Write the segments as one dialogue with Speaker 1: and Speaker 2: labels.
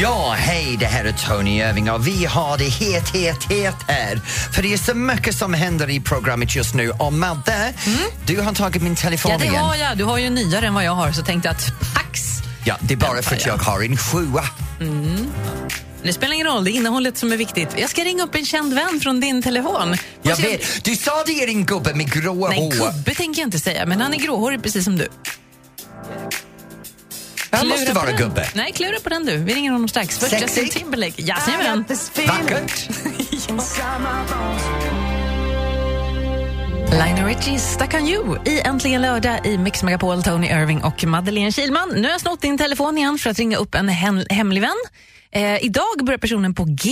Speaker 1: Ja, hej, det här är Tony Irving och vi har det het, het, het här. För det är så mycket som händer i programmet just nu. Och Madde, du har tagit min telefon
Speaker 2: Mm. Ja, det
Speaker 1: igen.
Speaker 2: har jag. Du har ju en nyare än vad jag har, så tänkte jag att pax!
Speaker 1: Ja, det är bara för
Speaker 2: tar
Speaker 1: att
Speaker 2: jag.
Speaker 1: jag har en sjua.
Speaker 2: Det spelar ingen roll, det är innehållet som är viktigt. Jag ska ringa upp en känd vän från din telefon. Och
Speaker 1: Jag
Speaker 2: se-
Speaker 1: vet, du sa det är en gubbe med gråa
Speaker 2: Nej,
Speaker 1: hår.
Speaker 2: kubbe tänker jag inte säga, men han är gråhårig precis som du.
Speaker 1: Han
Speaker 2: Klura
Speaker 1: måste
Speaker 2: på
Speaker 1: vara
Speaker 2: den.
Speaker 1: gubbe.
Speaker 2: Nej, klura på den du. Vi ringer honom strax. Först
Speaker 1: Sexy?
Speaker 2: Justin Timberlake. Jajamän.
Speaker 1: Vackert.
Speaker 2: Lionel Richie, Stuck on you i Äntligen lördag i Mix Megapol, Tony Irving och Madeleine Kilman. Nu har jag snott din telefon igen för att ringa upp en hem- hemlig vän. Eh, idag börjar personen på G.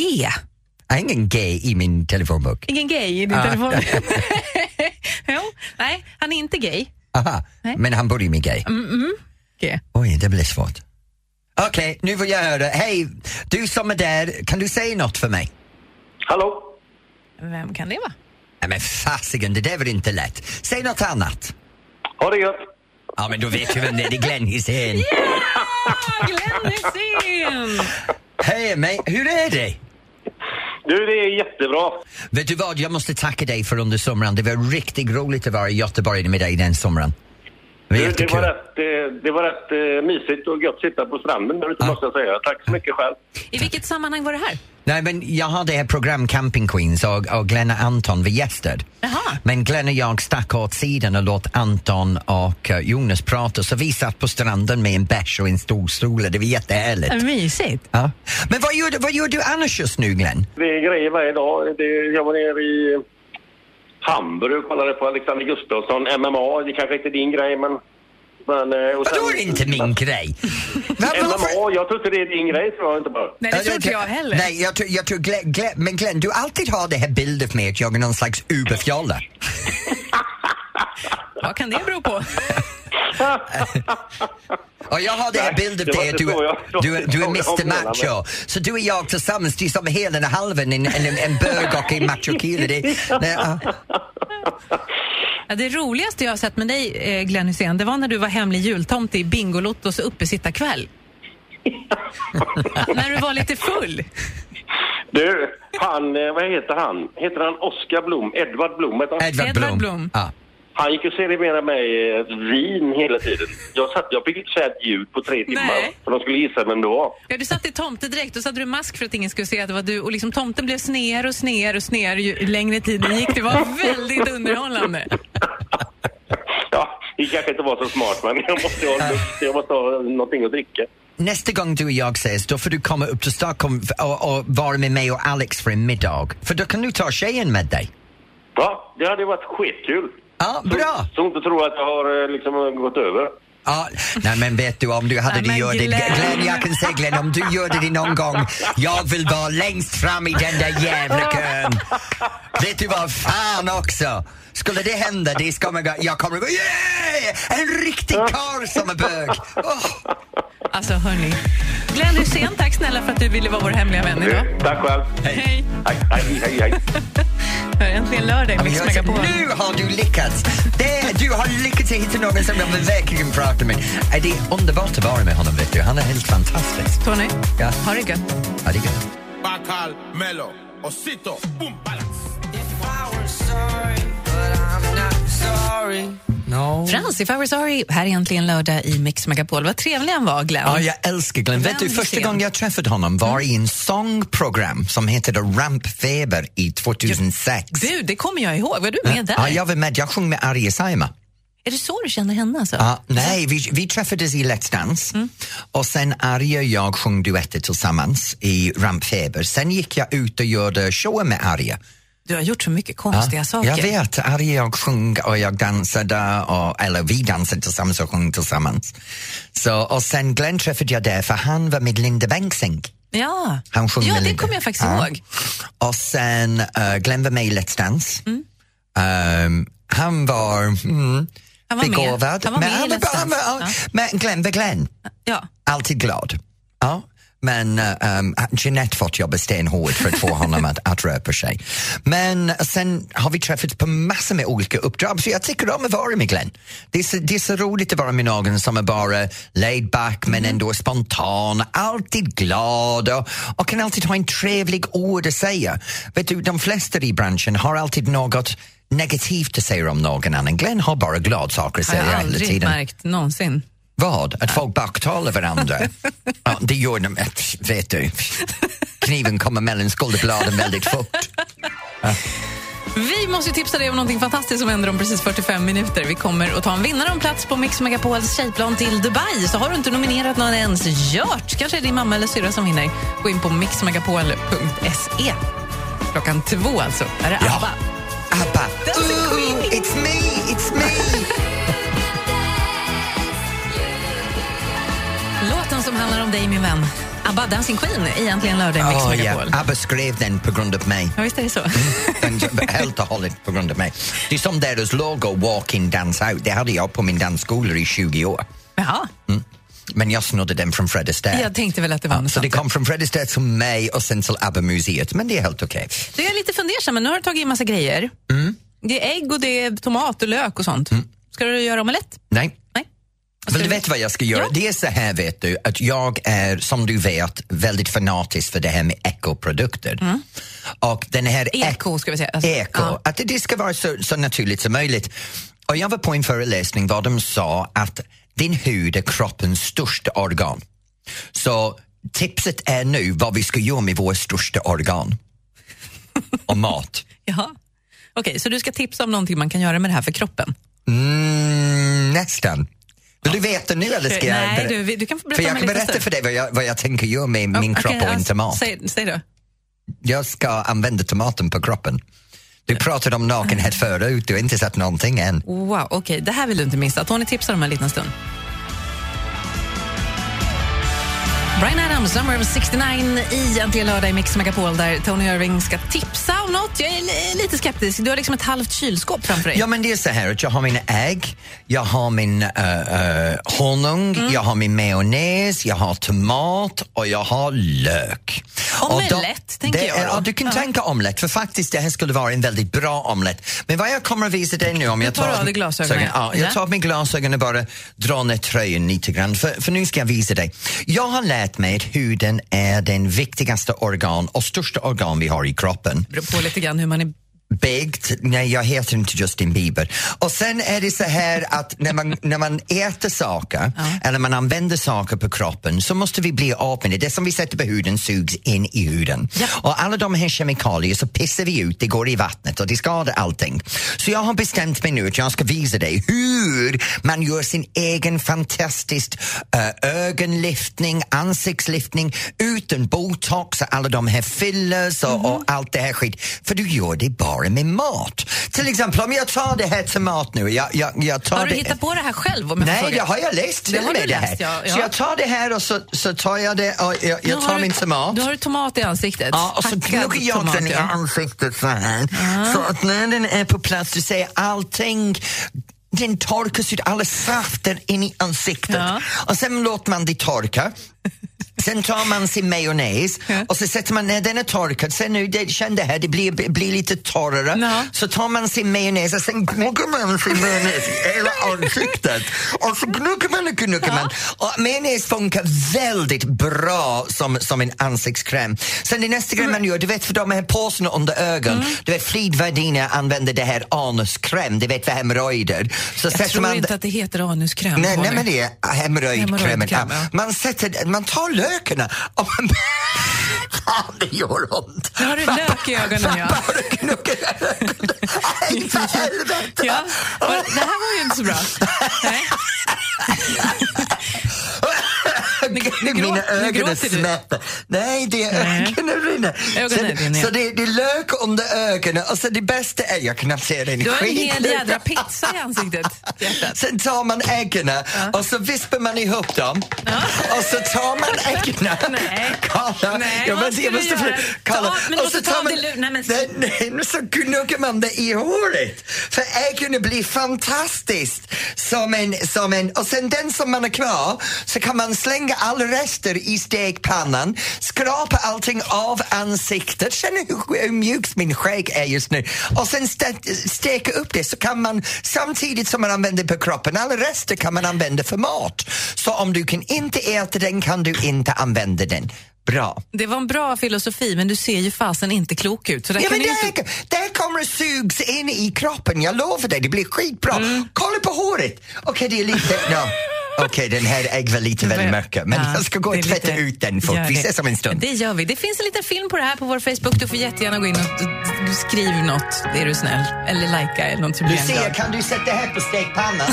Speaker 1: Jag har ingen gay i min telefonbok.
Speaker 2: Ingen gay i din
Speaker 1: Ah.
Speaker 2: telefon? jo, nej, han är inte gay.
Speaker 1: Aha,
Speaker 2: Nej. Mm.
Speaker 1: men han börjar med gay.
Speaker 2: G.
Speaker 1: Oj, det blir svårt. Okej, nu vill jag höra. Hej, du som är där, kan du säga något för mig?
Speaker 3: Hallå?
Speaker 2: Vem kan det vara?
Speaker 1: Nej men fasiken, det där var inte lätt. Säg något annat.
Speaker 3: Ha det gött!
Speaker 1: Ja men då vet du vem det är, det är Glenn Hysén.
Speaker 2: Ah, Glenn Hysén!
Speaker 1: Hej mig, hur är det?
Speaker 3: Du, det är jättebra.
Speaker 1: Vet du vad, jag måste tacka dig för under sommaren. Det var riktigt roligt att vara i Göteborg med dig den sommaren. Det var
Speaker 3: Du, det,
Speaker 1: jättekul.
Speaker 3: var rätt, eh, det var rätt eh, mysigt och gött att sitta på stranden där ute, måste jag säga. Tack så mycket själv.
Speaker 2: I vilket sammanhang var det här?
Speaker 1: Nej men jag har det här program Camping Queens och, och Glenn och Anton var gäster.
Speaker 2: Jaha.
Speaker 1: Men Glenn och jag stack åt sidan och låt Anton och eh, Jonas prata så vi satt på stranden med en bärs och en stor stol. Det var jättehärligt.
Speaker 2: Mm. Mysigt.
Speaker 1: Ja. Men vad gör, du- vad gör du annars just nu Glenn?
Speaker 3: Det är grejer varje dag. Det, jag var nere i Hamburg och kollade på Alexander Gustafsson, MMA. Det kanske inte är din grej, men... men eh, och
Speaker 1: Vadå
Speaker 3: sen-
Speaker 1: är det inte min grej? Va- varför-
Speaker 3: MMA, jag tror inte det är din grej, tror jag inte bara.
Speaker 2: Nej, det tror inte
Speaker 1: tror-
Speaker 2: jag heller.
Speaker 1: Nej, jag tror, jag tror Glenn, Glenn, men Glenn, du alltid har det här bilden med att jag är någon slags uberfjolle.
Speaker 2: Vad kan det bero på?
Speaker 1: Och jag har det här
Speaker 3: Nej,
Speaker 1: bilden
Speaker 3: det var
Speaker 1: med att
Speaker 3: inte
Speaker 1: du,
Speaker 3: så jag-
Speaker 1: du, du, är
Speaker 3: jag
Speaker 1: Mr
Speaker 3: menar, men-
Speaker 1: Macho. Så du och jag tillsammans, det är som hela den halven, en, en, en bög och en machokille. Det- nej, ja.
Speaker 2: Ja, det roligaste jag har sett med dig, eh, Glenn Hysén, det var när du var hemlig jultomte i Bingolottos uppesittarkväll. när du var lite full.
Speaker 3: Du, han, eh, vad heter han? Heter han Oskar Blom? Edvard Blom? Heter han?
Speaker 1: Edvard
Speaker 2: Edvard
Speaker 1: Blom.
Speaker 2: Blom.
Speaker 1: Ja.
Speaker 3: han gick och serverade mig eh, vin hela tiden. Jag, satt, jag fick inte säga ett ljud på tre timmar,
Speaker 2: Nej.
Speaker 3: för de skulle gissa vem det var.
Speaker 2: Ja, du satt i tomtedräkt och så hade du mask för att ingen skulle se att det var du och liksom tomten blev snedare och snedare och snedare ju längre tiden gick. Det var väldigt underhållande.
Speaker 3: Ja, det kanske inte var så smart, men jag måste ha, jag måste ha någonting att dricka.
Speaker 1: Nästa gång du och jag ses, då får du komma upp till Stockholm och, och vara med mig och Alex för en middag. För då kan du ta tjejen med dig.
Speaker 3: Ja, det hade varit skitkul.
Speaker 1: Ja, bra!
Speaker 3: Så inte tror att jag har eh, liksom gått över.
Speaker 1: Ja, nej men vet du om du hade
Speaker 2: Nej,
Speaker 1: det
Speaker 2: men
Speaker 1: gör det,
Speaker 2: Glenn.
Speaker 1: Glenn jag kan säga Glenn om du gör det någon gång, jag vill vara längst fram i den där jävla kön. Vet du vad, fan också! Skulle det hända, det ska man gå, jag kommer gå yeah! En riktig karl som är bög! Åh.
Speaker 2: Alltså hörni. Glenn Hysén, tack snälla för att du ville vara vår hemliga vän idag.
Speaker 3: Tack själv.
Speaker 2: Hej!
Speaker 3: Hej, hej, hej, hej.
Speaker 2: Hör äntligen lördag i Mix
Speaker 1: Jag säger,
Speaker 2: Megapol.
Speaker 1: Nu har du lyckats! Det, du har lyckats hitta någon som jag vill verkligen prata med. Äh, Det är underbart att vara med honom vet du, han är helt fantastisk.
Speaker 2: Tony,
Speaker 1: Ja.
Speaker 2: ha det gött.
Speaker 1: Ja, det är gött.
Speaker 4: Bacal, Melo, Osito, boom, balance.
Speaker 2: Frans, if I were sorry, här är äntligen lördag i Mix Megapol. Vad trevlig han var, Glenn.
Speaker 1: Ja, jag älskar Glenn. Vet du,
Speaker 2: Glenn
Speaker 1: första
Speaker 2: Hysén.
Speaker 1: gången jag träffade honom var i en sångprogram som hette Rampfeber i 2006.
Speaker 2: Du, det kommer jag ihåg. Var du med där?
Speaker 1: Ja, jag var med. Jag sjöng med Arje Saima.
Speaker 2: Är det så du känner henne? Alltså?
Speaker 1: Ja, nej, vi, vi träffades i Let's Dance och sen Arje och jag sjöng duetter tillsammans i Rampfeber. Sen gick jag ut och gjorde shower med Arje.
Speaker 2: Du har gjort så mycket konstiga saker.
Speaker 1: Jag vet, Arje och jag sjöng och jag dansade, och, eller vi dansade tillsammans och sjöng tillsammans. Så, och sen Glenn träffade jag där för han var med Linda Bengtzing.
Speaker 2: Ja,
Speaker 1: Han sjöng
Speaker 2: ja
Speaker 1: med
Speaker 2: det
Speaker 1: Linda.
Speaker 2: kommer jag faktiskt
Speaker 1: Ja.
Speaker 2: ihåg.
Speaker 1: Och sen uh, Glenn var med i Let's Dance. Ehm, han var, mm,
Speaker 2: Mm. Han var med.
Speaker 1: begåvad.
Speaker 2: Han var med i
Speaker 1: han
Speaker 2: Let's
Speaker 1: han
Speaker 2: Dance.
Speaker 1: var-
Speaker 2: Ja.
Speaker 1: men Glenn var Glenn.
Speaker 2: Ja.
Speaker 1: Alltid glad. Ja. Men eh, um, Jeanette fått jobba stenhårt för att få honom att, att röra på sig. Men sen har vi träffats på massor med olika uppdrag så jag tycker om att vara med Glenn. Det är så, det är så roligt att vara med någon som är bara laid back
Speaker 2: Mm.
Speaker 1: men ändå spontan, alltid glad och, och kan alltid ha en trevlig ord att säga. Vet du, de flesta i branschen har alltid något negativt att säga om någon annan. Glenn har bara glada saker att
Speaker 2: Har
Speaker 1: säga
Speaker 2: jag
Speaker 1: hela
Speaker 2: aldrig
Speaker 1: tiden.
Speaker 2: märkt någonsin.
Speaker 1: Vad? Att folk baktalar varandra? ja, det gör de, äh, vet du. Kniven kommer mellan skulderbladen väldigt fort.
Speaker 2: Vi måste ju tipsa dig om någonting fantastiskt som händer om precis 45 minuter. Vi kommer att ta en vinnare om plats på Mix Megapols tjejplan till Dubai. Så har du inte nominerat någon ens, gjort. Kanske är det din mamma eller syrra som vinner. Gå in på mixmegapol.se. Klockan två alltså. Är det ABBA?
Speaker 1: Abba!
Speaker 2: Dancing
Speaker 1: Ooh,
Speaker 2: Queen.
Speaker 1: it's me, it's me!
Speaker 2: Låten som handlar om dig, min vän. ABBA Dancing Queen, egentligen lördag i Mix
Speaker 1: oh, ja.
Speaker 2: Megapol.
Speaker 1: Abba skrev den på grund av mig.
Speaker 2: Ja, visst är det så?
Speaker 1: Den, helt och hållet på grund av mig. Det är som deras logo, Walk In Dance Out. Det hade jag på min dansskola i 20 år.
Speaker 2: Jaha,
Speaker 1: Men jag snodde den från Fred Astaire.
Speaker 2: jag tänkte väl att det var något
Speaker 1: så det
Speaker 2: sånt.
Speaker 1: kom från Fred Astaire till mig och sen till ABBA-museet. Men det är helt okej.
Speaker 2: Du, jag är lite fundersam, men nu har du tagit in massa grejer.
Speaker 1: Mm.
Speaker 2: Det är ägg och det är tomat och lök och sånt. Ska du göra omelett?
Speaker 1: Nej.
Speaker 2: Nej.
Speaker 1: Vill Mm. du
Speaker 2: vi-
Speaker 1: veta vad jag ska göra?
Speaker 2: Ja.
Speaker 1: Det är så här vet du, att jag är som du vet väldigt fanatisk för det här med ekoprodukter. Och den här
Speaker 2: Mm. Eko, ska vi säga. Alltså,
Speaker 1: eko
Speaker 2: ja.
Speaker 1: att det ska vara så, så naturligt som möjligt. Och jag var på en föreläsning där de sa att din hud är kroppens största organ. Så tipset är nu vad vi ska göra med våra största organ. Och mat.
Speaker 2: Jaha. Okej, så du ska tipsa om någonting man kan göra med det här för kroppen?
Speaker 1: Mm, nästan. Vill du veta nu eller ska jag
Speaker 2: Nej,
Speaker 1: ber-
Speaker 2: du, vi- du kan få berätta
Speaker 1: För jag
Speaker 2: om
Speaker 1: kan
Speaker 2: det lite
Speaker 1: berätta
Speaker 2: sen.
Speaker 1: för dig vad jag, vad jag tänker göra med min
Speaker 2: Okej,
Speaker 1: kropp och
Speaker 2: ja,
Speaker 1: en tomat.
Speaker 2: Säg, säg då.
Speaker 1: Jag ska använda tomaten på kroppen. Du pratade om nakenhet förut, du har inte sett någonting än.
Speaker 2: Wow, okej, det här vill du inte missa. Tony tipsar om en liten stund. Brian Adams, Summer of 69 i Äntligen lördag i Mix Megapol där Tony Irving ska tipsa om något. Jag är li- lite skeptisk. Du har liksom ett halvt kylskåp framför dig.
Speaker 1: Ja men det är så här att jag har mina ägg, jag har min eh, eh, honung,
Speaker 2: Mm.
Speaker 1: jag har min majonnäs, jag har tomat och jag har lök. Och då-
Speaker 2: Omelett, tänker
Speaker 1: det
Speaker 2: jag
Speaker 1: är-
Speaker 2: då.
Speaker 1: Ja, du kan
Speaker 2: Ja.
Speaker 1: tänka omelett för faktiskt det här skulle vara en väldigt bra omelett. Men vad jag kommer att visa dig nu om jag
Speaker 2: tar av dig glasögonen.
Speaker 1: Ja,
Speaker 2: Ja.
Speaker 1: jag tar av mig glasögonen och bara drar ner tröjan lite grann för, för nu ska jag visa dig. Jag har lärt mig att huden är den viktigaste organ och största organ vi har i kroppen
Speaker 2: Det beror på lite grann hur man är...
Speaker 1: baked. Nej, jag heter inte Justin Bieber. Och sen är det så här att när man, när man äter saker eller man använder saker på kroppen så måste vi bli av med det. Det som vi sätter på huden sugs in i huden. Och alla de här kemikalierna så pissar vi ut, det går i vattnet och det skadar allting. Så jag har bestämt mig nu att jag ska visa dig hur man gör sin egen fantastiskt eh, ögonlyftning, ansiktslyftning utan botox och alla de här fillers och,
Speaker 2: Mhm.
Speaker 1: och allt det här skit. För du gör det bara med mat. Till exempel om jag tar det här till mat nu. Jag, jag, jag tar
Speaker 2: Har du
Speaker 1: det...
Speaker 2: hittat på det här själv? Om jag får
Speaker 1: Nej,
Speaker 2: fråga?
Speaker 1: det har jag läst till
Speaker 2: Det har
Speaker 1: med
Speaker 2: du
Speaker 1: det här.
Speaker 2: läst, ja, ja.
Speaker 1: Så jag tar det här och så, så tar jag det och jag,
Speaker 2: Nu
Speaker 1: jag tar
Speaker 2: har
Speaker 1: min
Speaker 2: du-
Speaker 1: tomat.
Speaker 2: Då har du tomat i ansiktet.
Speaker 1: Ja, och så
Speaker 2: Hackad
Speaker 1: knuggar jag
Speaker 2: tomat,
Speaker 1: den i
Speaker 2: ja.
Speaker 1: ansiktet så här. Så att när den är på plats, du ser allting den torkas ut, alla safter in i ansiktet.
Speaker 2: Ja.
Speaker 1: Och sen låter man det torka. Sen tar man sin majonnäs och så sätter man, när den är torkad, sen nu, det, känn det här, det blir, blir lite torrare.
Speaker 2: Ja.
Speaker 1: Så tar man sin majonnäs och sen gnuggar man sin majonnäs i hela ansiktet. Och så gnuggar man och gnuggar man. Och majonnäs funkar väldigt bra som, som en ansiktskräm. Sen det nästa grej man gör, du vet för de här påsarna under ögonen,
Speaker 2: Mm.
Speaker 1: du vet flygvärdinnan använder det här anuskräm, du vet för hemorrojder. Så
Speaker 2: Jag
Speaker 1: sätter
Speaker 2: tror
Speaker 1: man
Speaker 2: inte att det heter anuskräm.
Speaker 1: Nej, nej
Speaker 2: Holger.
Speaker 1: men det är hemorrojdkrämen.
Speaker 2: Hemorrojdkräm,
Speaker 1: Ja.
Speaker 2: ja.
Speaker 1: Man, sätter, man tar lökarna och man... Fan, det gör ont!
Speaker 2: Nu har du lök i ögonen, ja.
Speaker 1: Bara gnuggar ögonen. Nej, för helvete!
Speaker 2: ja. Och Det här var ju inte så bra. Nej. nu grå-
Speaker 1: Mina
Speaker 2: nu
Speaker 1: ögon är
Speaker 2: gråter du.
Speaker 1: smätta. Nej, det är
Speaker 2: Nej.
Speaker 1: ögonen rinner.
Speaker 2: Ögonen
Speaker 1: så
Speaker 2: rinner, ja.
Speaker 1: så det, det är lök under ögonen och så det bästa är... Jag kan knappt se det.
Speaker 2: Du har en
Speaker 1: skit.
Speaker 2: hel jädra pizza i ansiktet. hjärtat.
Speaker 1: Sen tar man äggen och så vispar man ihop dem och så tar man äggen.
Speaker 2: Nej.
Speaker 1: Kolla,
Speaker 2: Nej,
Speaker 1: jag
Speaker 2: vad
Speaker 1: måste, jag
Speaker 2: ska
Speaker 1: måste
Speaker 2: du
Speaker 1: för,
Speaker 2: göra?
Speaker 1: kolla.
Speaker 2: Ta- men du måste ta det lu- nej, men-
Speaker 1: nej, nej, men så gnuggar man det i håret. För äggen blir fantastiskt. Som en, som en, och sen den som man har kvar så kan man slänga lägga alla rester i stekpannan, skrapa allting av ansiktet, känna hur, hur mjukt min skägg är just nu och sen ste- steka upp det så kan man samtidigt som man använder på kroppen, alla rester kan man använda för mat. Så om du kan inte äta den kan du inte använda den. Bra.
Speaker 2: Det var en bra filosofi, men du ser ju fasen inte klok ut. Så där
Speaker 1: Ja,
Speaker 2: kan
Speaker 1: men
Speaker 2: du
Speaker 1: det,
Speaker 2: ju
Speaker 1: här,
Speaker 2: inte...
Speaker 1: det här kommer att sugs in i kroppen, jag lovar dig, det blir skitbra.
Speaker 2: Mm.
Speaker 1: Kolla på håret! Okej, det är lite... No. Okej, den här ägg var lite väl mörk, men
Speaker 2: Ja,
Speaker 1: jag ska gå
Speaker 2: det är
Speaker 1: och tvätta
Speaker 2: lite-
Speaker 1: ut den fort.
Speaker 2: Gör
Speaker 1: Vi
Speaker 2: det.
Speaker 1: ses om en stund.
Speaker 2: Det gör vi. Det finns en liten film på det här på vår Facebook. Du får jättegärna gå in och d- d- skriv något, är du snäll. Eller likea eller något. så blir jag
Speaker 1: Lucia,
Speaker 2: glad.
Speaker 1: kan du sätta här på stekpannan?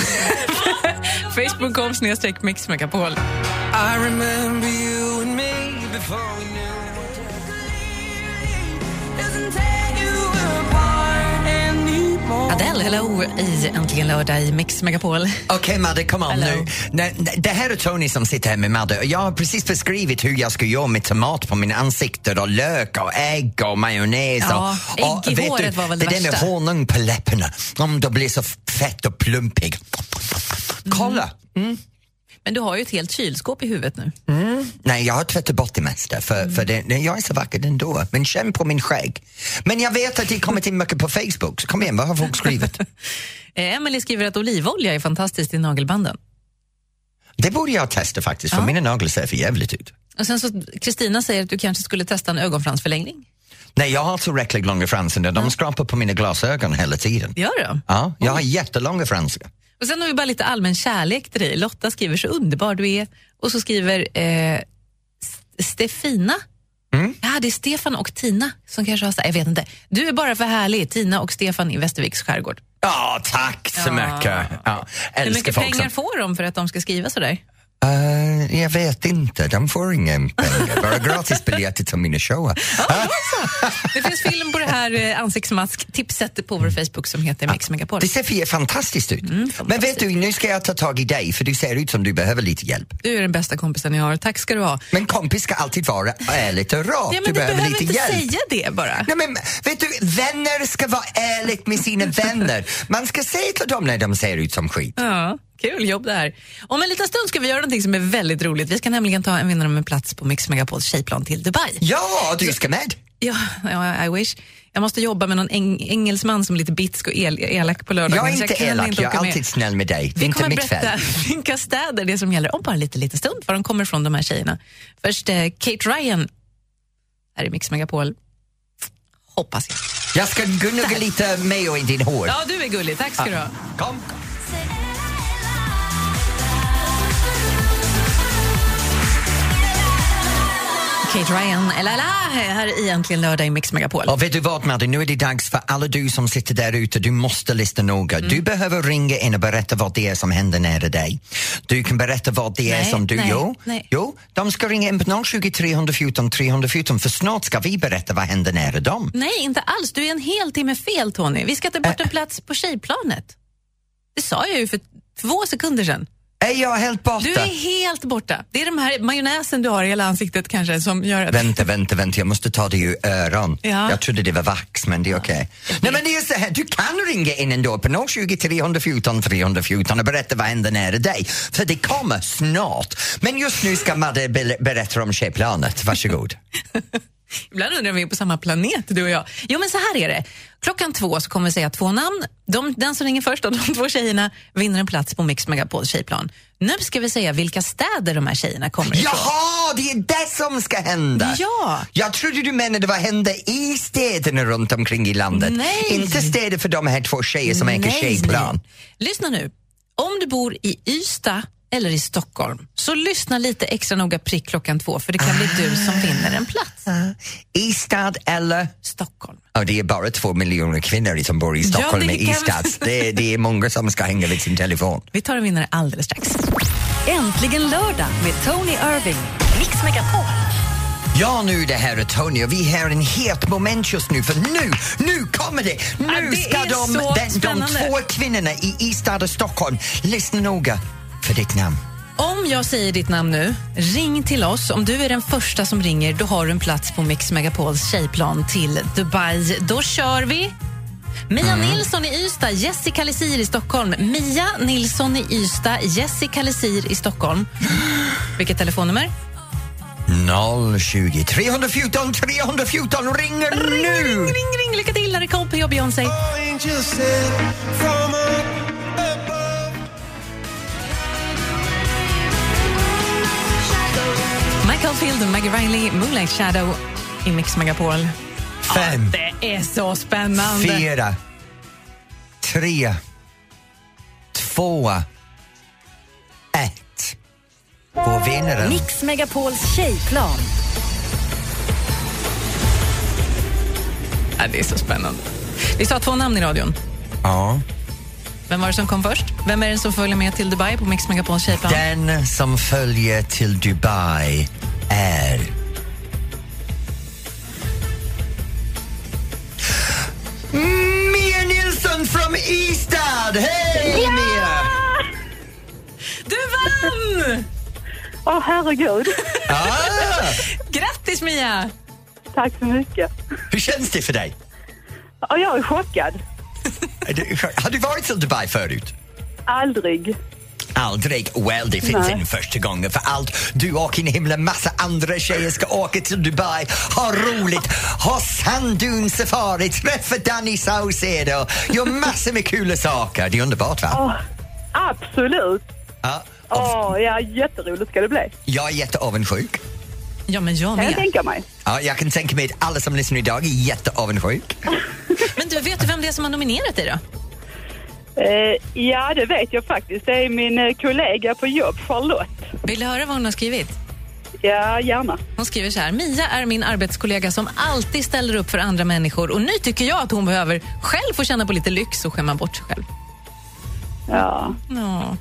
Speaker 2: Facebook.com snedstreck mixmegapol. Adele, hello, i Äntligen lördag i Mix Megapol.
Speaker 1: Okej Madde, kom on
Speaker 2: Hello.
Speaker 1: nu. Nej, nej, det här är Tony som sitter här med Madde och jag har precis beskrivit hur jag ska göra med tomat på min ansikte och lök och ägg och majonnäs.
Speaker 2: Ja,
Speaker 1: och, och,
Speaker 2: ägg i
Speaker 1: vet
Speaker 2: håret var väl det
Speaker 1: det där med
Speaker 2: värsta.
Speaker 1: honung på läpparna, om det blir så fett och plumpig. Kolla!
Speaker 2: Mm. Men du har ju ett helt kylskåp i huvudet nu.
Speaker 1: Nej, jag har tvättat bort det mesta för,
Speaker 2: Mm.
Speaker 1: för det, nej, jag är så vacker ändå. Men känn på min skägg. Men jag vet att det kommit in mycket på Facebook, så kom igen, vad har folk skrivit?
Speaker 2: Eh, Emily skriver att olivolja är fantastiskt i nagelbanden.
Speaker 1: det borde jag testa faktiskt, för
Speaker 2: Ja.
Speaker 1: mina naglar ser för jävligt ut.
Speaker 2: Och sen så Kristina säger att du kanske skulle testa en ögonfransförlängning.
Speaker 1: Nej, jag har tillräckligt långa fransar nu. De skrapar på mina glasögon hela tiden.
Speaker 2: Gör du?
Speaker 1: Ja, jag har jättelånga fransar.
Speaker 2: Och sen har vi bara lite allmän kärlek till dig. Lotta skriver så underbar du är. Och så skriver eh, S- Stefina.
Speaker 1: Mm.
Speaker 2: Ja, det är Stefan och Tina som kanske har så här, jag vet inte. Du är bara för härlig, Tina och Stefan i Västerviks skärgård.
Speaker 1: Ja, tack så
Speaker 2: Ja.
Speaker 1: mycket. Ja,
Speaker 2: Hur
Speaker 1: älskar
Speaker 2: mycket
Speaker 1: folk
Speaker 2: pengar
Speaker 1: som...
Speaker 2: får de för att de ska skriva sådär?
Speaker 1: Eh, jag vet inte, de får inga pengar. Bara gratisbiljetter till mina shower.
Speaker 2: Det finns film på det här eh, ansiktsmask-tipset på vår Facebook som heter Mix Megapol.
Speaker 1: Det ser för fantastiskt
Speaker 2: Mm,
Speaker 1: ut. Men vet du, nu ska jag ta tag i dig för du ser ut som du behöver lite hjälp.
Speaker 2: Du är den bästa kompisen jag har, tack ska du ha.
Speaker 1: Men kompis ska alltid vara ärligt och rakt.
Speaker 2: Ja, men
Speaker 1: du
Speaker 2: du
Speaker 1: behöver,
Speaker 2: behöver
Speaker 1: lite
Speaker 2: inte
Speaker 1: hjälp.
Speaker 2: säga det bara.
Speaker 1: Nej, men, vet du, vänner ska vara ärligt med sina vänner. Man ska säga till dem när de ser ut som skit.
Speaker 2: Ja, kul jobb det här. Om en liten stund ska vi göra någonting som är väldigt roligt. Vi ska nämligen ta en vinnare om en plats på Mix Megapols tjejplan till Dubai.
Speaker 1: Ja, du ska med.
Speaker 2: Ja, ja, I wish. Jag måste jobba med någon eng- engelsman som är lite bitsk och el- elak på lördagen.
Speaker 1: Jag är
Speaker 2: så
Speaker 1: inte
Speaker 2: kan
Speaker 1: elak,
Speaker 2: inte
Speaker 1: jag är
Speaker 2: åka med.
Speaker 1: alltid snäll med dig. Det är
Speaker 2: Vi
Speaker 1: inte
Speaker 2: kommer
Speaker 1: mitt
Speaker 2: berätta
Speaker 1: fel.
Speaker 2: vilka städer det är som gäller om bara en liten, liten stund, var de kommer ifrån de här tjejerna. Först eh, Kate Ryan här i Mix Megapol. Hoppas jag.
Speaker 1: Jag ska gnugga lite mayo i din hår.
Speaker 2: Ja, du är gullig. Tack ska du ha.
Speaker 1: Kom.
Speaker 2: Kate Ryan, eller la, här i Äntligen lördag i Mix Megapol.
Speaker 1: Och vet du vad Madde, nu är det dags för alla du som sitter där ute, du måste lyssna noga.
Speaker 2: Mm.
Speaker 1: Du behöver ringa in och berätta vad det är som händer nära dig. Du kan berätta vad det är
Speaker 2: Nej,
Speaker 1: som du
Speaker 2: nej,
Speaker 1: gör.
Speaker 2: nej.
Speaker 1: Jo, de ska ringa in på 020 314 314 för snart ska vi berätta vad händer nära dem.
Speaker 2: Nej, inte alls. Du är en hel timme fel, Tony. Vi ska ta bort en plats på tjejplanet. Det sa jag ju för två sekunder sedan.
Speaker 1: Är jag helt borta?
Speaker 2: Du är helt borta. Det är de här majonnäsen du har i hela ansiktet kanske som gör att...
Speaker 1: Vänta, vänta, vänta, jag måste ta det ur öron.
Speaker 2: Ja.
Speaker 1: Jag trodde det var vax, men det är okej. Nej, men det är så här, du kan ringa in ändå på 020 314 314 och berätta vad händer nära dig, för det kommer snart. Men just nu ska Madde be- berätta om tjejplanet, varsågod.
Speaker 2: Ibland undrar jag om vi är på samma planet, du och jag. Jo, men så här är det. Klockan två så kommer vi säga två namn. De, den som ringer först av de två tjejerna vinner en plats på Mix Megapols tjejplan. Nu ska vi säga vilka städer de här tjejerna kommer ifrån.
Speaker 1: Jaha, det är det som ska hända!
Speaker 2: Ja.
Speaker 1: Jag trodde du menade vad händer i städerna runt omkring i landet.
Speaker 2: Nej.
Speaker 1: Inte städer för de här två tjejer som äger
Speaker 2: Nej.
Speaker 1: tjejplan.
Speaker 2: Lyssna nu. Om du bor i Ystad eller i Stockholm, så lyssna lite extra noga prick klockan två, för det kan bli du som vinner en plats.
Speaker 1: I stad eller
Speaker 2: Stockholm.
Speaker 1: Ja, det är bara två miljoner kvinnor som bor i Stockholm
Speaker 2: det
Speaker 1: i
Speaker 2: kan-
Speaker 1: Istads. Det, det är många som ska hänga vid sin telefon.
Speaker 2: Vi tar en vinnare alldeles strax.
Speaker 5: Äntligen lördag med Tony Irving. Mix Megapol.
Speaker 1: Ja, nu det här är Tony och vi har en het moment just nu för nu, nu kommer det! Nu
Speaker 2: Ja, det
Speaker 1: ska
Speaker 2: är
Speaker 1: de,
Speaker 2: så
Speaker 1: de, de
Speaker 2: spännande.
Speaker 1: två kvinnorna i Istad och Stockholm, lyssna noga för ditt namn.
Speaker 2: Om jag säger ditt namn nu, ring till oss. Om du är den första som ringer, då har du en plats på Mix Megapols tjejplan till Dubai. Då kör vi! Mia Nilsson i Ystad, Jessica Lisir i Stockholm. Mia Nilsson i Ystad, Jessica Lisir i Stockholm. Vilket telefonnummer?
Speaker 1: 020 314 314 ringer
Speaker 2: Ring,
Speaker 1: nu!
Speaker 2: ring, ring! Lycka till, här är Coldplay och Beyoncé. Michael Field, Maggie Riley, Moonlight Shadow i Mix Megapol.
Speaker 1: Fem,
Speaker 2: Det är så spännande!
Speaker 1: fyra, tre, två, ett. Och vinnaren
Speaker 5: Mix Megapols tjejplan.
Speaker 2: Ja, det är så spännande. Vi sa två namn i radion.
Speaker 1: Ja.
Speaker 2: Vem var det som kom först? Vem är det som följer med till Dubai på Mix Megapols tjejplan?
Speaker 1: Den som följer till Dubai är... Mia Nilsson från Ystad! Hej, Mia!
Speaker 2: Du vann!
Speaker 6: Åh herregud,
Speaker 1: Ah,
Speaker 2: Grattis, Mia!
Speaker 6: tack så mycket.
Speaker 1: hur känns det för dig?
Speaker 6: Och jag är chockad.
Speaker 1: Är du- Har du varit till Dubai förut?
Speaker 6: Aldrig.
Speaker 1: Aldrig. Well, det finns
Speaker 6: Nej.
Speaker 1: en första gången för allt. Du och en himla massa andra tjejer ska åka till Dubai, ha roligt, ha sanddun safari, träffa Danny Saucedo, gör massor med kul saker. Det är underbart, va?
Speaker 6: Åh, absolut.
Speaker 1: Ja. Och
Speaker 6: Åh, ja, jätteroligt ska det bli.
Speaker 1: jag är jätteavundsjuk.
Speaker 2: Ja, men jag
Speaker 6: Kan jag
Speaker 2: med.
Speaker 6: tänka mig.
Speaker 1: Ja, jag kan tänka mig att alla som lyssnar idag är jätteavundsjuk.
Speaker 2: Men du, vet du vem det är som har nominerat dig då?
Speaker 6: Eh, ja, det vet jag faktiskt. Det är min eh, kollega på jobb, Charlotte.
Speaker 2: Vill du höra vad hon har skrivit?
Speaker 6: Ja, gärna.
Speaker 2: Hon skriver så här. Mia är min arbetskollega som alltid ställer upp för andra människor och nu tycker jag att hon behöver själv få känna på lite lyx och skämma bort sig själv.
Speaker 6: Ja.
Speaker 2: Ja.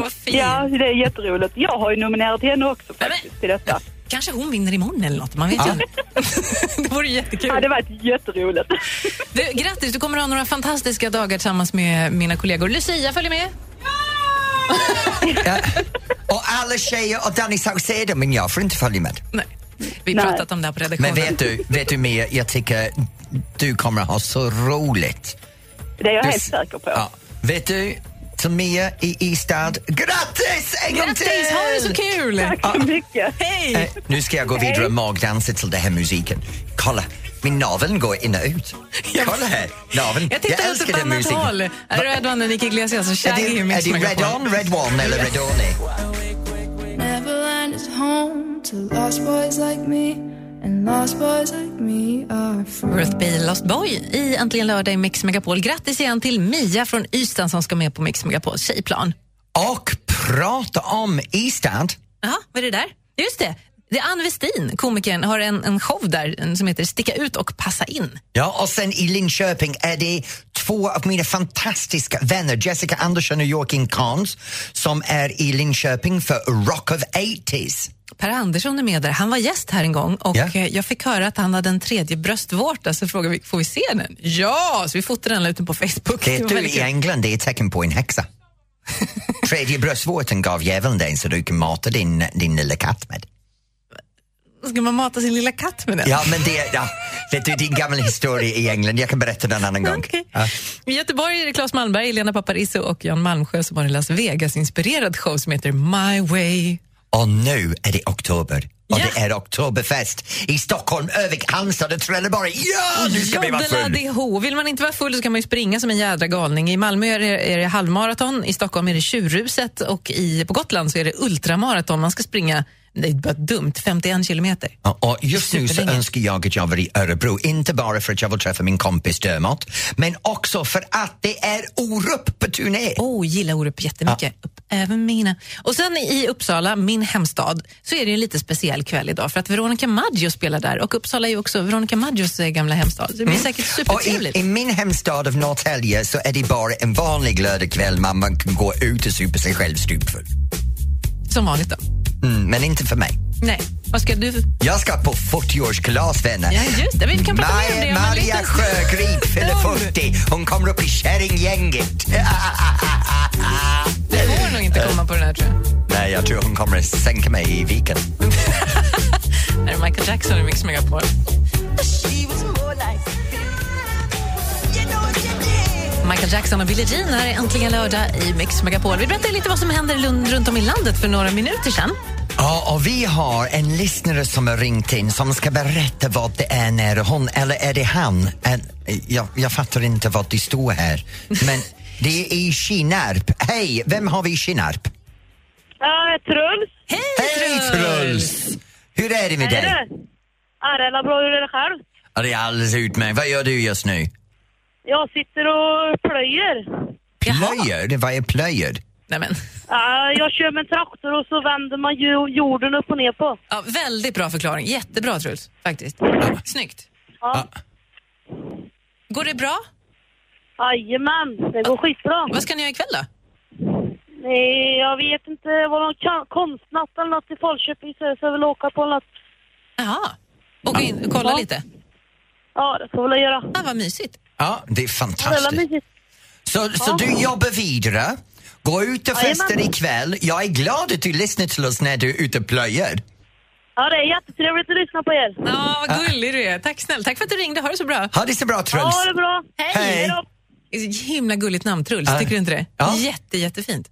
Speaker 2: Vad fint.
Speaker 6: Mm. ja, det är jätteroligt. Jag har ju nominerat henne också
Speaker 2: men-
Speaker 6: faktiskt till detta.
Speaker 2: Kanske hon vinner imorgon eller något, man vet ju
Speaker 1: Ja.
Speaker 2: aldrig. Det vore jättekul.
Speaker 6: Ja, det var ett jätteroligt.
Speaker 2: Du, grattis, du kommer ha några fantastiska dagar tillsammans med mina kollegor. Lucia följer med.
Speaker 1: Ja. Och alla tjejer och Danny Saucedo, men jag får inte följa med.
Speaker 2: Nej, vi har
Speaker 6: Nej.
Speaker 2: pratat om det här på redaktionen.
Speaker 1: Men vet du, vet du Mia, jag tycker du kommer ha så roligt.
Speaker 6: Det är jag
Speaker 1: Du-
Speaker 6: helt säker på.
Speaker 1: Ja. Vet du, till Mia i Ystad, grattis en gång
Speaker 2: Grattis,
Speaker 1: till!
Speaker 2: ha det så kul!
Speaker 6: Tack så mycket.
Speaker 2: Hej!
Speaker 1: Eh, nu ska jag gå vidare och magdansa till den här musiken. Kolla, min naveln går in och ut. Kolla här, naveln.
Speaker 2: Jag tittar åt
Speaker 1: älskar
Speaker 2: ett
Speaker 1: den
Speaker 2: annat
Speaker 1: musiken.
Speaker 2: håll. Är du rädd om Nick Iglesias och
Speaker 1: Är
Speaker 2: Shaggy i
Speaker 1: det, är
Speaker 2: Mix
Speaker 1: det Red
Speaker 2: Megapol?
Speaker 1: On, Red One eller Red Oney?
Speaker 7: Neverland is home to lost boys like me, and lost boys like me are free.
Speaker 2: Worth Be Lost Boy i Äntligen lördag i Mix Megapol. Grattis igen till Mia från Ystad som ska med på Mix Megapols tjejplan.
Speaker 1: Och prata om Ystad.
Speaker 2: Jaha, vad är det där? Just det, det är Ann Westin, komikern, har en, en show där en som heter Sticka ut och passa in.
Speaker 1: Ja, och sen i Linköping är det två av mina fantastiska vänner, Jessica Andersson och Joakim Kahns, som är i Linköping för Rock of 80s.
Speaker 2: Per Andersson är med där. Han var gäst här en gång och
Speaker 1: Ja.
Speaker 2: eh, jag fick höra att han hade en tredje bröstvårta så frågade vi, får vi se den? Ja, så vi fotade den och la ut den på Facebook. Det
Speaker 1: Vet
Speaker 2: var
Speaker 1: du,
Speaker 2: väldigt
Speaker 1: i
Speaker 2: kul.
Speaker 1: England det är ett tecken på en häxa. Tredje bröstvårtan gav djävulen dig så du kan mata din, din lilla katt med.
Speaker 2: Ska man mata sin lilla katt med den?
Speaker 1: Ja, men det är, ja, vet du, det är en gammal historia i England. Jag kan berätta den en annan gång.
Speaker 2: Okej.
Speaker 1: Ja.
Speaker 2: I Göteborg är det Claes Malmberg, Elena Paparizou och Jan Malmsjö som har en Las Vegas-inspirerad show som heter My Way.
Speaker 1: Och nu är det oktober. Och
Speaker 2: Ja.
Speaker 1: det är oktoberfest i Stockholm, Övik, Halmstad och Trelleborg. Ja, nu ska vi vara
Speaker 2: Joddel
Speaker 1: full!
Speaker 2: ADH. Vill man inte vara full så kan man ju springa som en jädra galning. I Malmö är det, är det halvmaraton, i Stockholm är det tjurruset och i, på Gotland så är det ultramaraton. Man ska springa, det är bara dumt, 51 kilometer.
Speaker 1: Ja, Och just nu så
Speaker 2: Superlänge.
Speaker 1: önskar jag att jag var i Örebro, inte bara för att jag vill träffa min kompis Dermot, men också för att det är Orup på turné.
Speaker 2: Oh, gillar Orup jättemycket. Upp även mina. Och sen i Uppsala, min hemstad, så är det en lite speciell kväll idag för att Veronica Maggio spelar där och Uppsala är ju också Veronica Maggios eh, gamla hemstad. Så det blir säkert
Speaker 1: Mm. Och i,
Speaker 2: supertrevligt.
Speaker 1: I min hemstad av Norrtälje så är det bara en vanlig lördagkväll man, man kan gå ut och supa sig själv stupfull.
Speaker 2: Som vanligt då.
Speaker 1: Mm, men inte för mig.
Speaker 2: Nej, vad ska du...
Speaker 1: Jag ska på 40-årskalas vänner.
Speaker 2: Ja, just det. Vi kan prata mer om det om en
Speaker 1: Maria
Speaker 2: liten stund.
Speaker 1: Sjögrip fyller 40. Hon kommer upp i Kärringgänget.
Speaker 2: Du får nog inte komma på den här tror jag.
Speaker 1: Nej, jag tror hon kommer sänka mig i viken.
Speaker 2: Här är Michael Jackson i Mix Megapol. Michael Jackson och Billie Jean här är äntligen lördag i Mix Megapol. Vi berättade lite vad som händer i Lund, runt om i landet för några minuter sedan.
Speaker 1: Ja, och vi har en lyssnare som har ringt in som ska berätta vad det är när hon, eller är det han? En, jag, jag fattar inte vad det står här. Men det är i Kinnarp. Hej, vem har vi i Kinnarp?
Speaker 8: Ja, Truls.
Speaker 2: Hej,
Speaker 1: Hej Truls! Hur är det med dig?
Speaker 8: Ja, det är bra. Hur är det själv?
Speaker 1: Ja, det är alldeles utmärkt. Vad gör du just nu?
Speaker 8: Jag sitter och plöjer.
Speaker 1: Plöjer? Vad är plöjer?
Speaker 2: Nej, men.
Speaker 8: Ja, jag kör med en traktor och så vänder man ju jorden upp och ner på.
Speaker 2: Ja, väldigt bra förklaring. Jättebra, Truls. Faktiskt. Snyggt.
Speaker 8: Ja.
Speaker 2: Går det bra?
Speaker 8: Jajamän, det går skitbra.
Speaker 2: Vad ska ni göra ikväll då?
Speaker 8: Nej, jag vet inte. Var någon kan- konstnatt eller något i Falköping så jag ska väl åka på något.
Speaker 2: Jaha. Åka in och kolla lite.
Speaker 8: Ja, det får jag väl göra.
Speaker 2: Ah, vad mysigt.
Speaker 1: Ja, det är
Speaker 8: Det är väl
Speaker 1: fantastiskt.
Speaker 8: mysigt.
Speaker 1: Så, så du jobbar vidare, går ut och festar ikväll. Jag är glad att du lyssnar till oss när du är ute och plöjer.
Speaker 8: Ja, det är jättetrevligt att lyssna på er.
Speaker 2: Ja, vad gullig du är. Tack snäll. Tack för att du ringde. Ha det så bra.
Speaker 1: Ha det så bra Truls!
Speaker 8: Ha det bra.
Speaker 1: Hej.
Speaker 8: då.
Speaker 2: Himla gulligt namn, Truls.
Speaker 1: Ja.
Speaker 2: Tycker du inte det?
Speaker 1: Ja.
Speaker 2: Jätte, jättefint.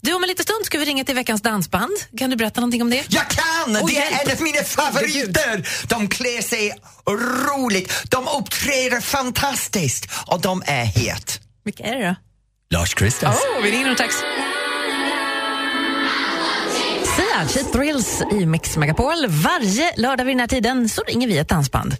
Speaker 2: Du, om en liten stund ska vi ringa till veckans dansband. Kan du berätta någonting om det?
Speaker 1: Jag kan!
Speaker 2: Oj,
Speaker 1: det är
Speaker 2: hjälp.
Speaker 1: en av mina favoriter! De klär sig roligt, de uppträder fantastiskt och de är het.
Speaker 2: Vilka är det då?
Speaker 1: Lars Kristers.
Speaker 2: Åh, vi ringer om strax. Sia, Cheap Thrills i Mix Megapol. Varje lördag vid den här tiden så ringer vi ett dansband.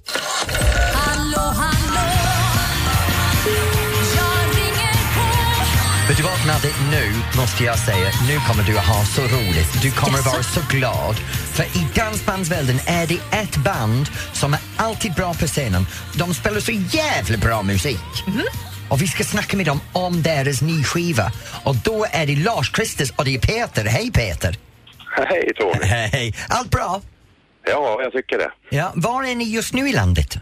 Speaker 1: Vet du vad Nadde, nu måste jag säga, nu kommer du att ha så roligt. Du kommer att vara så glad. För i dansbandsvärlden är det ett band som är alltid bra på scenen. De spelar så jävla bra musik.
Speaker 2: Mm-hmm.
Speaker 1: Och vi ska snacka med dem om deras ny skiva. Och då är det Lars Kristers och det är Peter. Hej Peter!
Speaker 3: Hej Tony.
Speaker 1: Hej! Allt bra?
Speaker 3: Ja, jag tycker det.
Speaker 1: Ja, var är ni just nu i landet?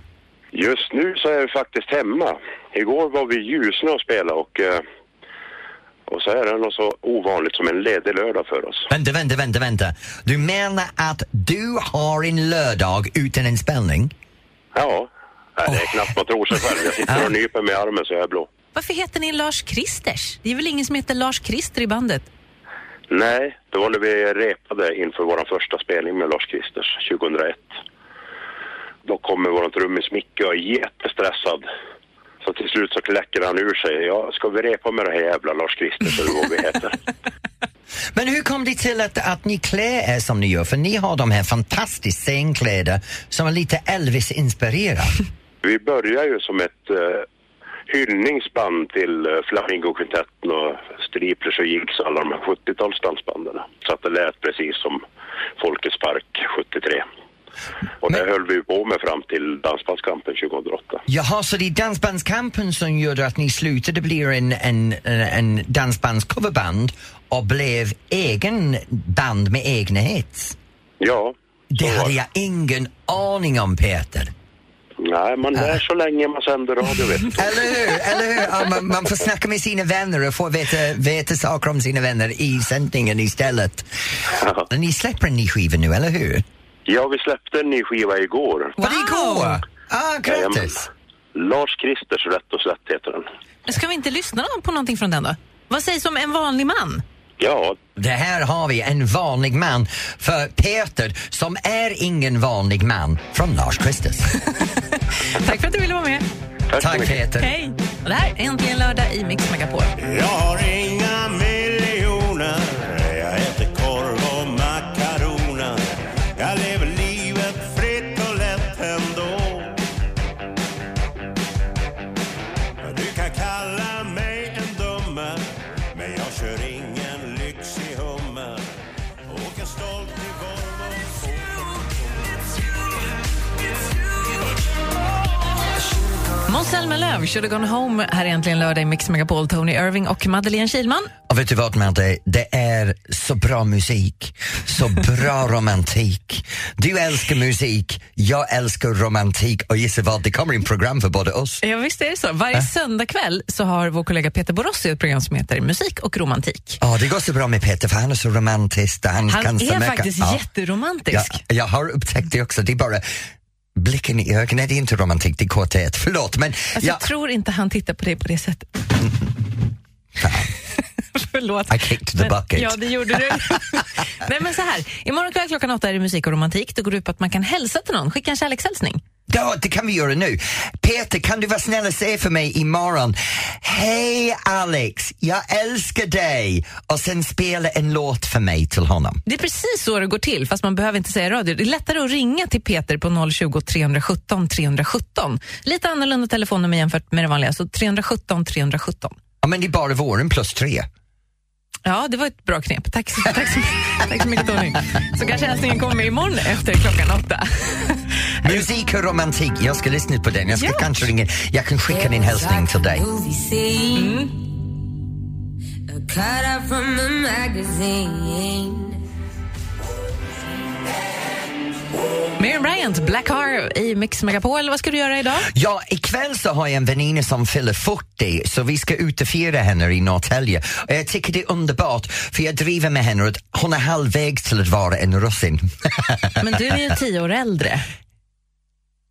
Speaker 3: Just nu så är vi faktiskt hemma. Igår var vi i Ljusne och spelade och, eh, och så är det något så ovanligt som en ledig lördag för oss.
Speaker 1: Vänta, vänta, vänta, vänta. Du menar att du har en lördag utan en spelning?
Speaker 3: Ja, Nej, det är knappt man tror sig själv. Jag sitter och nyper mig i armen så jag är blå.
Speaker 2: Varför heter ni Lars Kristers? Det är väl ingen som heter Lars Krister i bandet?
Speaker 3: Nej, det var när vi repade inför vår första spelning med Lars Kristers 2001. Då kommer vår trummis Micke och är jättestressad. Så till slut så kläcker han ur sig. Ja, ska vi repa med det här jävla Lars Kristers eller vad vi heter?
Speaker 1: Men hur kom det till att, att ni klär er som ni gör? För ni har de här fantastiska scenkläder som är lite Elvis-inspirerade.
Speaker 3: Vi börjar ju som ett eh, hyllningsband till eh, Flamingokvintetten och Striplers och Jigs och alla de här 70-talsdansbanden. Så att det lät precis som Folkets park 73. Och det höll vi på med fram till Dansbandskampen 2008.
Speaker 1: Jaha, så det är Dansbandskampen som gjorde att ni slutade bli en, en, en dansbandscoverband och blev egen band med egna hits?
Speaker 3: Ja.
Speaker 1: Det
Speaker 3: så var
Speaker 1: hade jag ingen aning om, Peter.
Speaker 3: Nej, man lär så länge man sänder radio vet du.
Speaker 1: Eller hur? Eller hur? Ja, man, man får snacka med sina vänner och få veta, veta saker om sina vänner i sändningen istället. Ni släpper en ny skiva nu, eller hur?
Speaker 3: Ja, vi släppte en ny skiva igår.
Speaker 1: Var det igår? Ah,
Speaker 3: Jajamän.
Speaker 1: grattis!
Speaker 3: Lars Kristers Rätt och Slätt heter den.
Speaker 2: Men Ska vi inte lyssna på någonting från den då? Vad sägs om en vanlig man?
Speaker 3: Ja,
Speaker 1: Det här har vi en vanlig man för Peter som är ingen vanlig man från Lars Christus.
Speaker 2: Tack för att du ville vara med.
Speaker 3: tack, så
Speaker 1: Tack
Speaker 3: mycket.
Speaker 1: Peter.
Speaker 2: Hej! Och det här är Äntligen lördag i Mix Megapol.
Speaker 4: Jag har inga miljoner Jag äter korv och makaroner Jag lever livet fritt och lätt ändå Du kan kalla mig en dummer Men jag kör ingen lyxig hummer Åker stolt i Volvo
Speaker 9: Oh,
Speaker 2: Måns Zelmerlöw, Should have gone home. Här är Äntligen lördag i Mix Megapol. Tony Irving och Madeleine Kilman.
Speaker 1: Och vet du vad Madde? Det är så bra musik, så bra romantik. Du älskar musik, jag älskar romantik och gissa vad, det kommer in program för både oss.
Speaker 2: Ja, visst är det så. Äh. Varje söndagkväll så har vår kollega Peter Borossi ett program som heter Musik och romantik.
Speaker 1: Ja, det går så bra med Peter för han är så romantisk. och Han,
Speaker 2: Han
Speaker 1: kan så
Speaker 2: är
Speaker 1: mycket.
Speaker 2: faktiskt
Speaker 1: Ja.
Speaker 2: jätteromantisk.
Speaker 1: Jag, jag har upptäckt det också. Det är bara blicken i ögonen, det är inte romantik, det är korthet. Förlåt, men
Speaker 2: Alltså,
Speaker 1: jag,
Speaker 2: Jag tror inte han tittar på dig på det sättet. Förlåt.
Speaker 1: I kicked the bucket.
Speaker 2: Ja, det gjorde du. Nej, men så här. Imorgon kväll klockan åtta är det musik och romantik. Det går ut på att man kan hälsa till någon, skicka en kärlekshälsning.
Speaker 1: Ja, det kan vi göra nu. Peter, kan du vara snäll och säga för mig imorgon, hej Alex, jag älskar dig och sen spela en låt för mig till honom.
Speaker 2: Det är precis så det går till, fast man behöver inte säga radio. Det är lättare att ringa till Peter på 020 317 317. Lite annorlunda telefonnummer jämfört med det vanliga, så 317 317.
Speaker 1: Ja, men det är bara våren plus tre.
Speaker 2: Ja, det var ett bra knep. Tack, så- tack, så, tack så mycket, Tony. Så kanske hälsningen kommer imorgon efter klockan åtta.
Speaker 1: Musik och romantik, jag ska lyssna på den. Jag ska
Speaker 2: Ja.
Speaker 1: kanske ringa, jag kan skicka en hälsning till dig.
Speaker 2: Miriam Bryant, Black Har i Mix Megapol. Vad ska du göra idag?
Speaker 1: Ja, ikväll så har jag en väninna som fyller 40 så vi ska ut och fira henne i Norrtälje. Och jag tycker det är underbart för jag driver med henne att hon är halvvägs till att vara en russin.
Speaker 2: Men du är ju tio år äldre.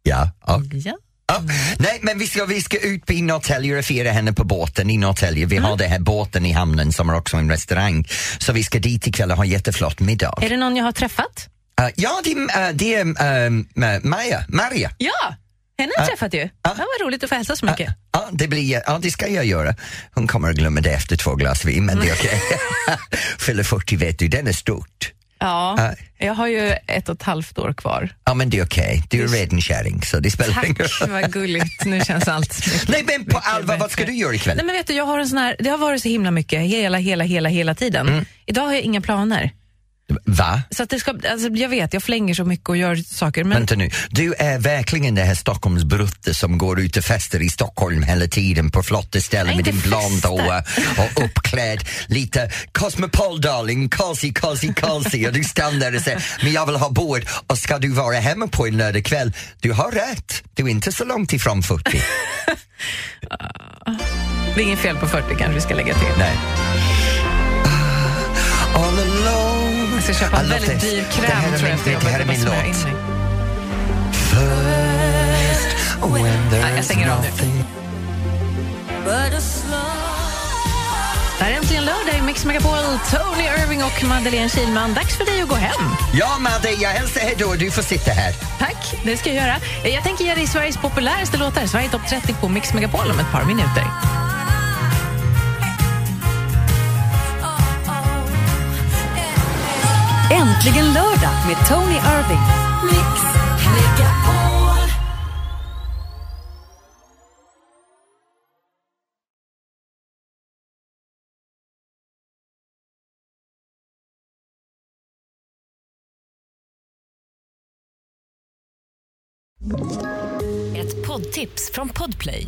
Speaker 1: ja, och
Speaker 2: Ja.
Speaker 1: Ja. Nej, men vi ska, vi ska ut i Norrtälje och fira henne på båten i Norrtälje. Vi har den här båten i hamnen som är också en restaurang. Så vi ska dit ikväll och ha en jätteflott middag.
Speaker 2: Är det någon jag har träffat?
Speaker 1: Eh, ja, det, är, eh, det är ehm, eh, Maja, Maria.
Speaker 2: Ja, henne har jag träffat ju. Ja, vad roligt att få hälsa så mycket.
Speaker 1: Ja, det, blir, ja, det ska jag göra. Hon kommer att glömma det efter två glas vin, men det är okej. Fyller 40 vet du, den är stort.
Speaker 2: Ja, jag har ju ett och ett halvt år kvar.
Speaker 1: Ja, men det är okej. Du är redan kärring, så det spelar ingen
Speaker 2: Tack,
Speaker 1: roll.
Speaker 2: vad gulligt. Nu känns allt mycket
Speaker 1: Nej, men på allvar, vad
Speaker 2: bättre.
Speaker 1: ska du göra ikväll?
Speaker 2: Nej, men vet du, jag har en sån här, det har varit så himla mycket hela, hela, hela, hela tiden. Idag har jag inga planer.
Speaker 1: Va?
Speaker 2: Så att det ska, alltså, jag vet, jag flänger så mycket och gör saker. Men
Speaker 1: Vänta nu, du är verkligen det här Stockholmsbruttet som går ut och fester i Stockholm hela tiden på flotta ställen
Speaker 2: Nej,
Speaker 1: med
Speaker 2: inte
Speaker 1: din blonda
Speaker 2: fester.
Speaker 1: och uppklädd lite Cosmopol darling, Kalsi, Kalsi, Kalsi och du stannar där och säger men jag vill ha bord och ska du vara hemma på en lördagkväll? Du har rätt, du är inte så långt ifrån 40.
Speaker 2: det är inget fel på 40 kanske vi ska lägga till.
Speaker 1: Nej. Ah, All alone.
Speaker 2: Jag ska köpa
Speaker 1: I
Speaker 2: en
Speaker 1: love
Speaker 2: väldigt
Speaker 1: this.
Speaker 2: dyr
Speaker 1: Det här
Speaker 2: kräm
Speaker 1: är
Speaker 2: tror
Speaker 1: min-
Speaker 2: jag. för jag
Speaker 1: Det här är
Speaker 2: behöver
Speaker 1: min
Speaker 2: smörja in
Speaker 1: låt.
Speaker 2: mig.
Speaker 1: When there
Speaker 2: Nej, jag
Speaker 1: is
Speaker 2: stänger av nu.
Speaker 1: nothing
Speaker 2: Det här är äntligen lördag i Mix Megapol. Tony Irving och Madeleine Kilman. Dags för dig att gå hem.
Speaker 1: Ja, Madde, jag hälsar hej då. Du får sitta här.
Speaker 2: Tack, det ska jag göra. Eh, Jag tänker ge dig Sveriges populäraste låtar, Sverige topp 30 på Mix Megapol om ett par minuter.
Speaker 5: Äntligen lördag med Tony Irving.
Speaker 10: Ett poddtips från Podplay.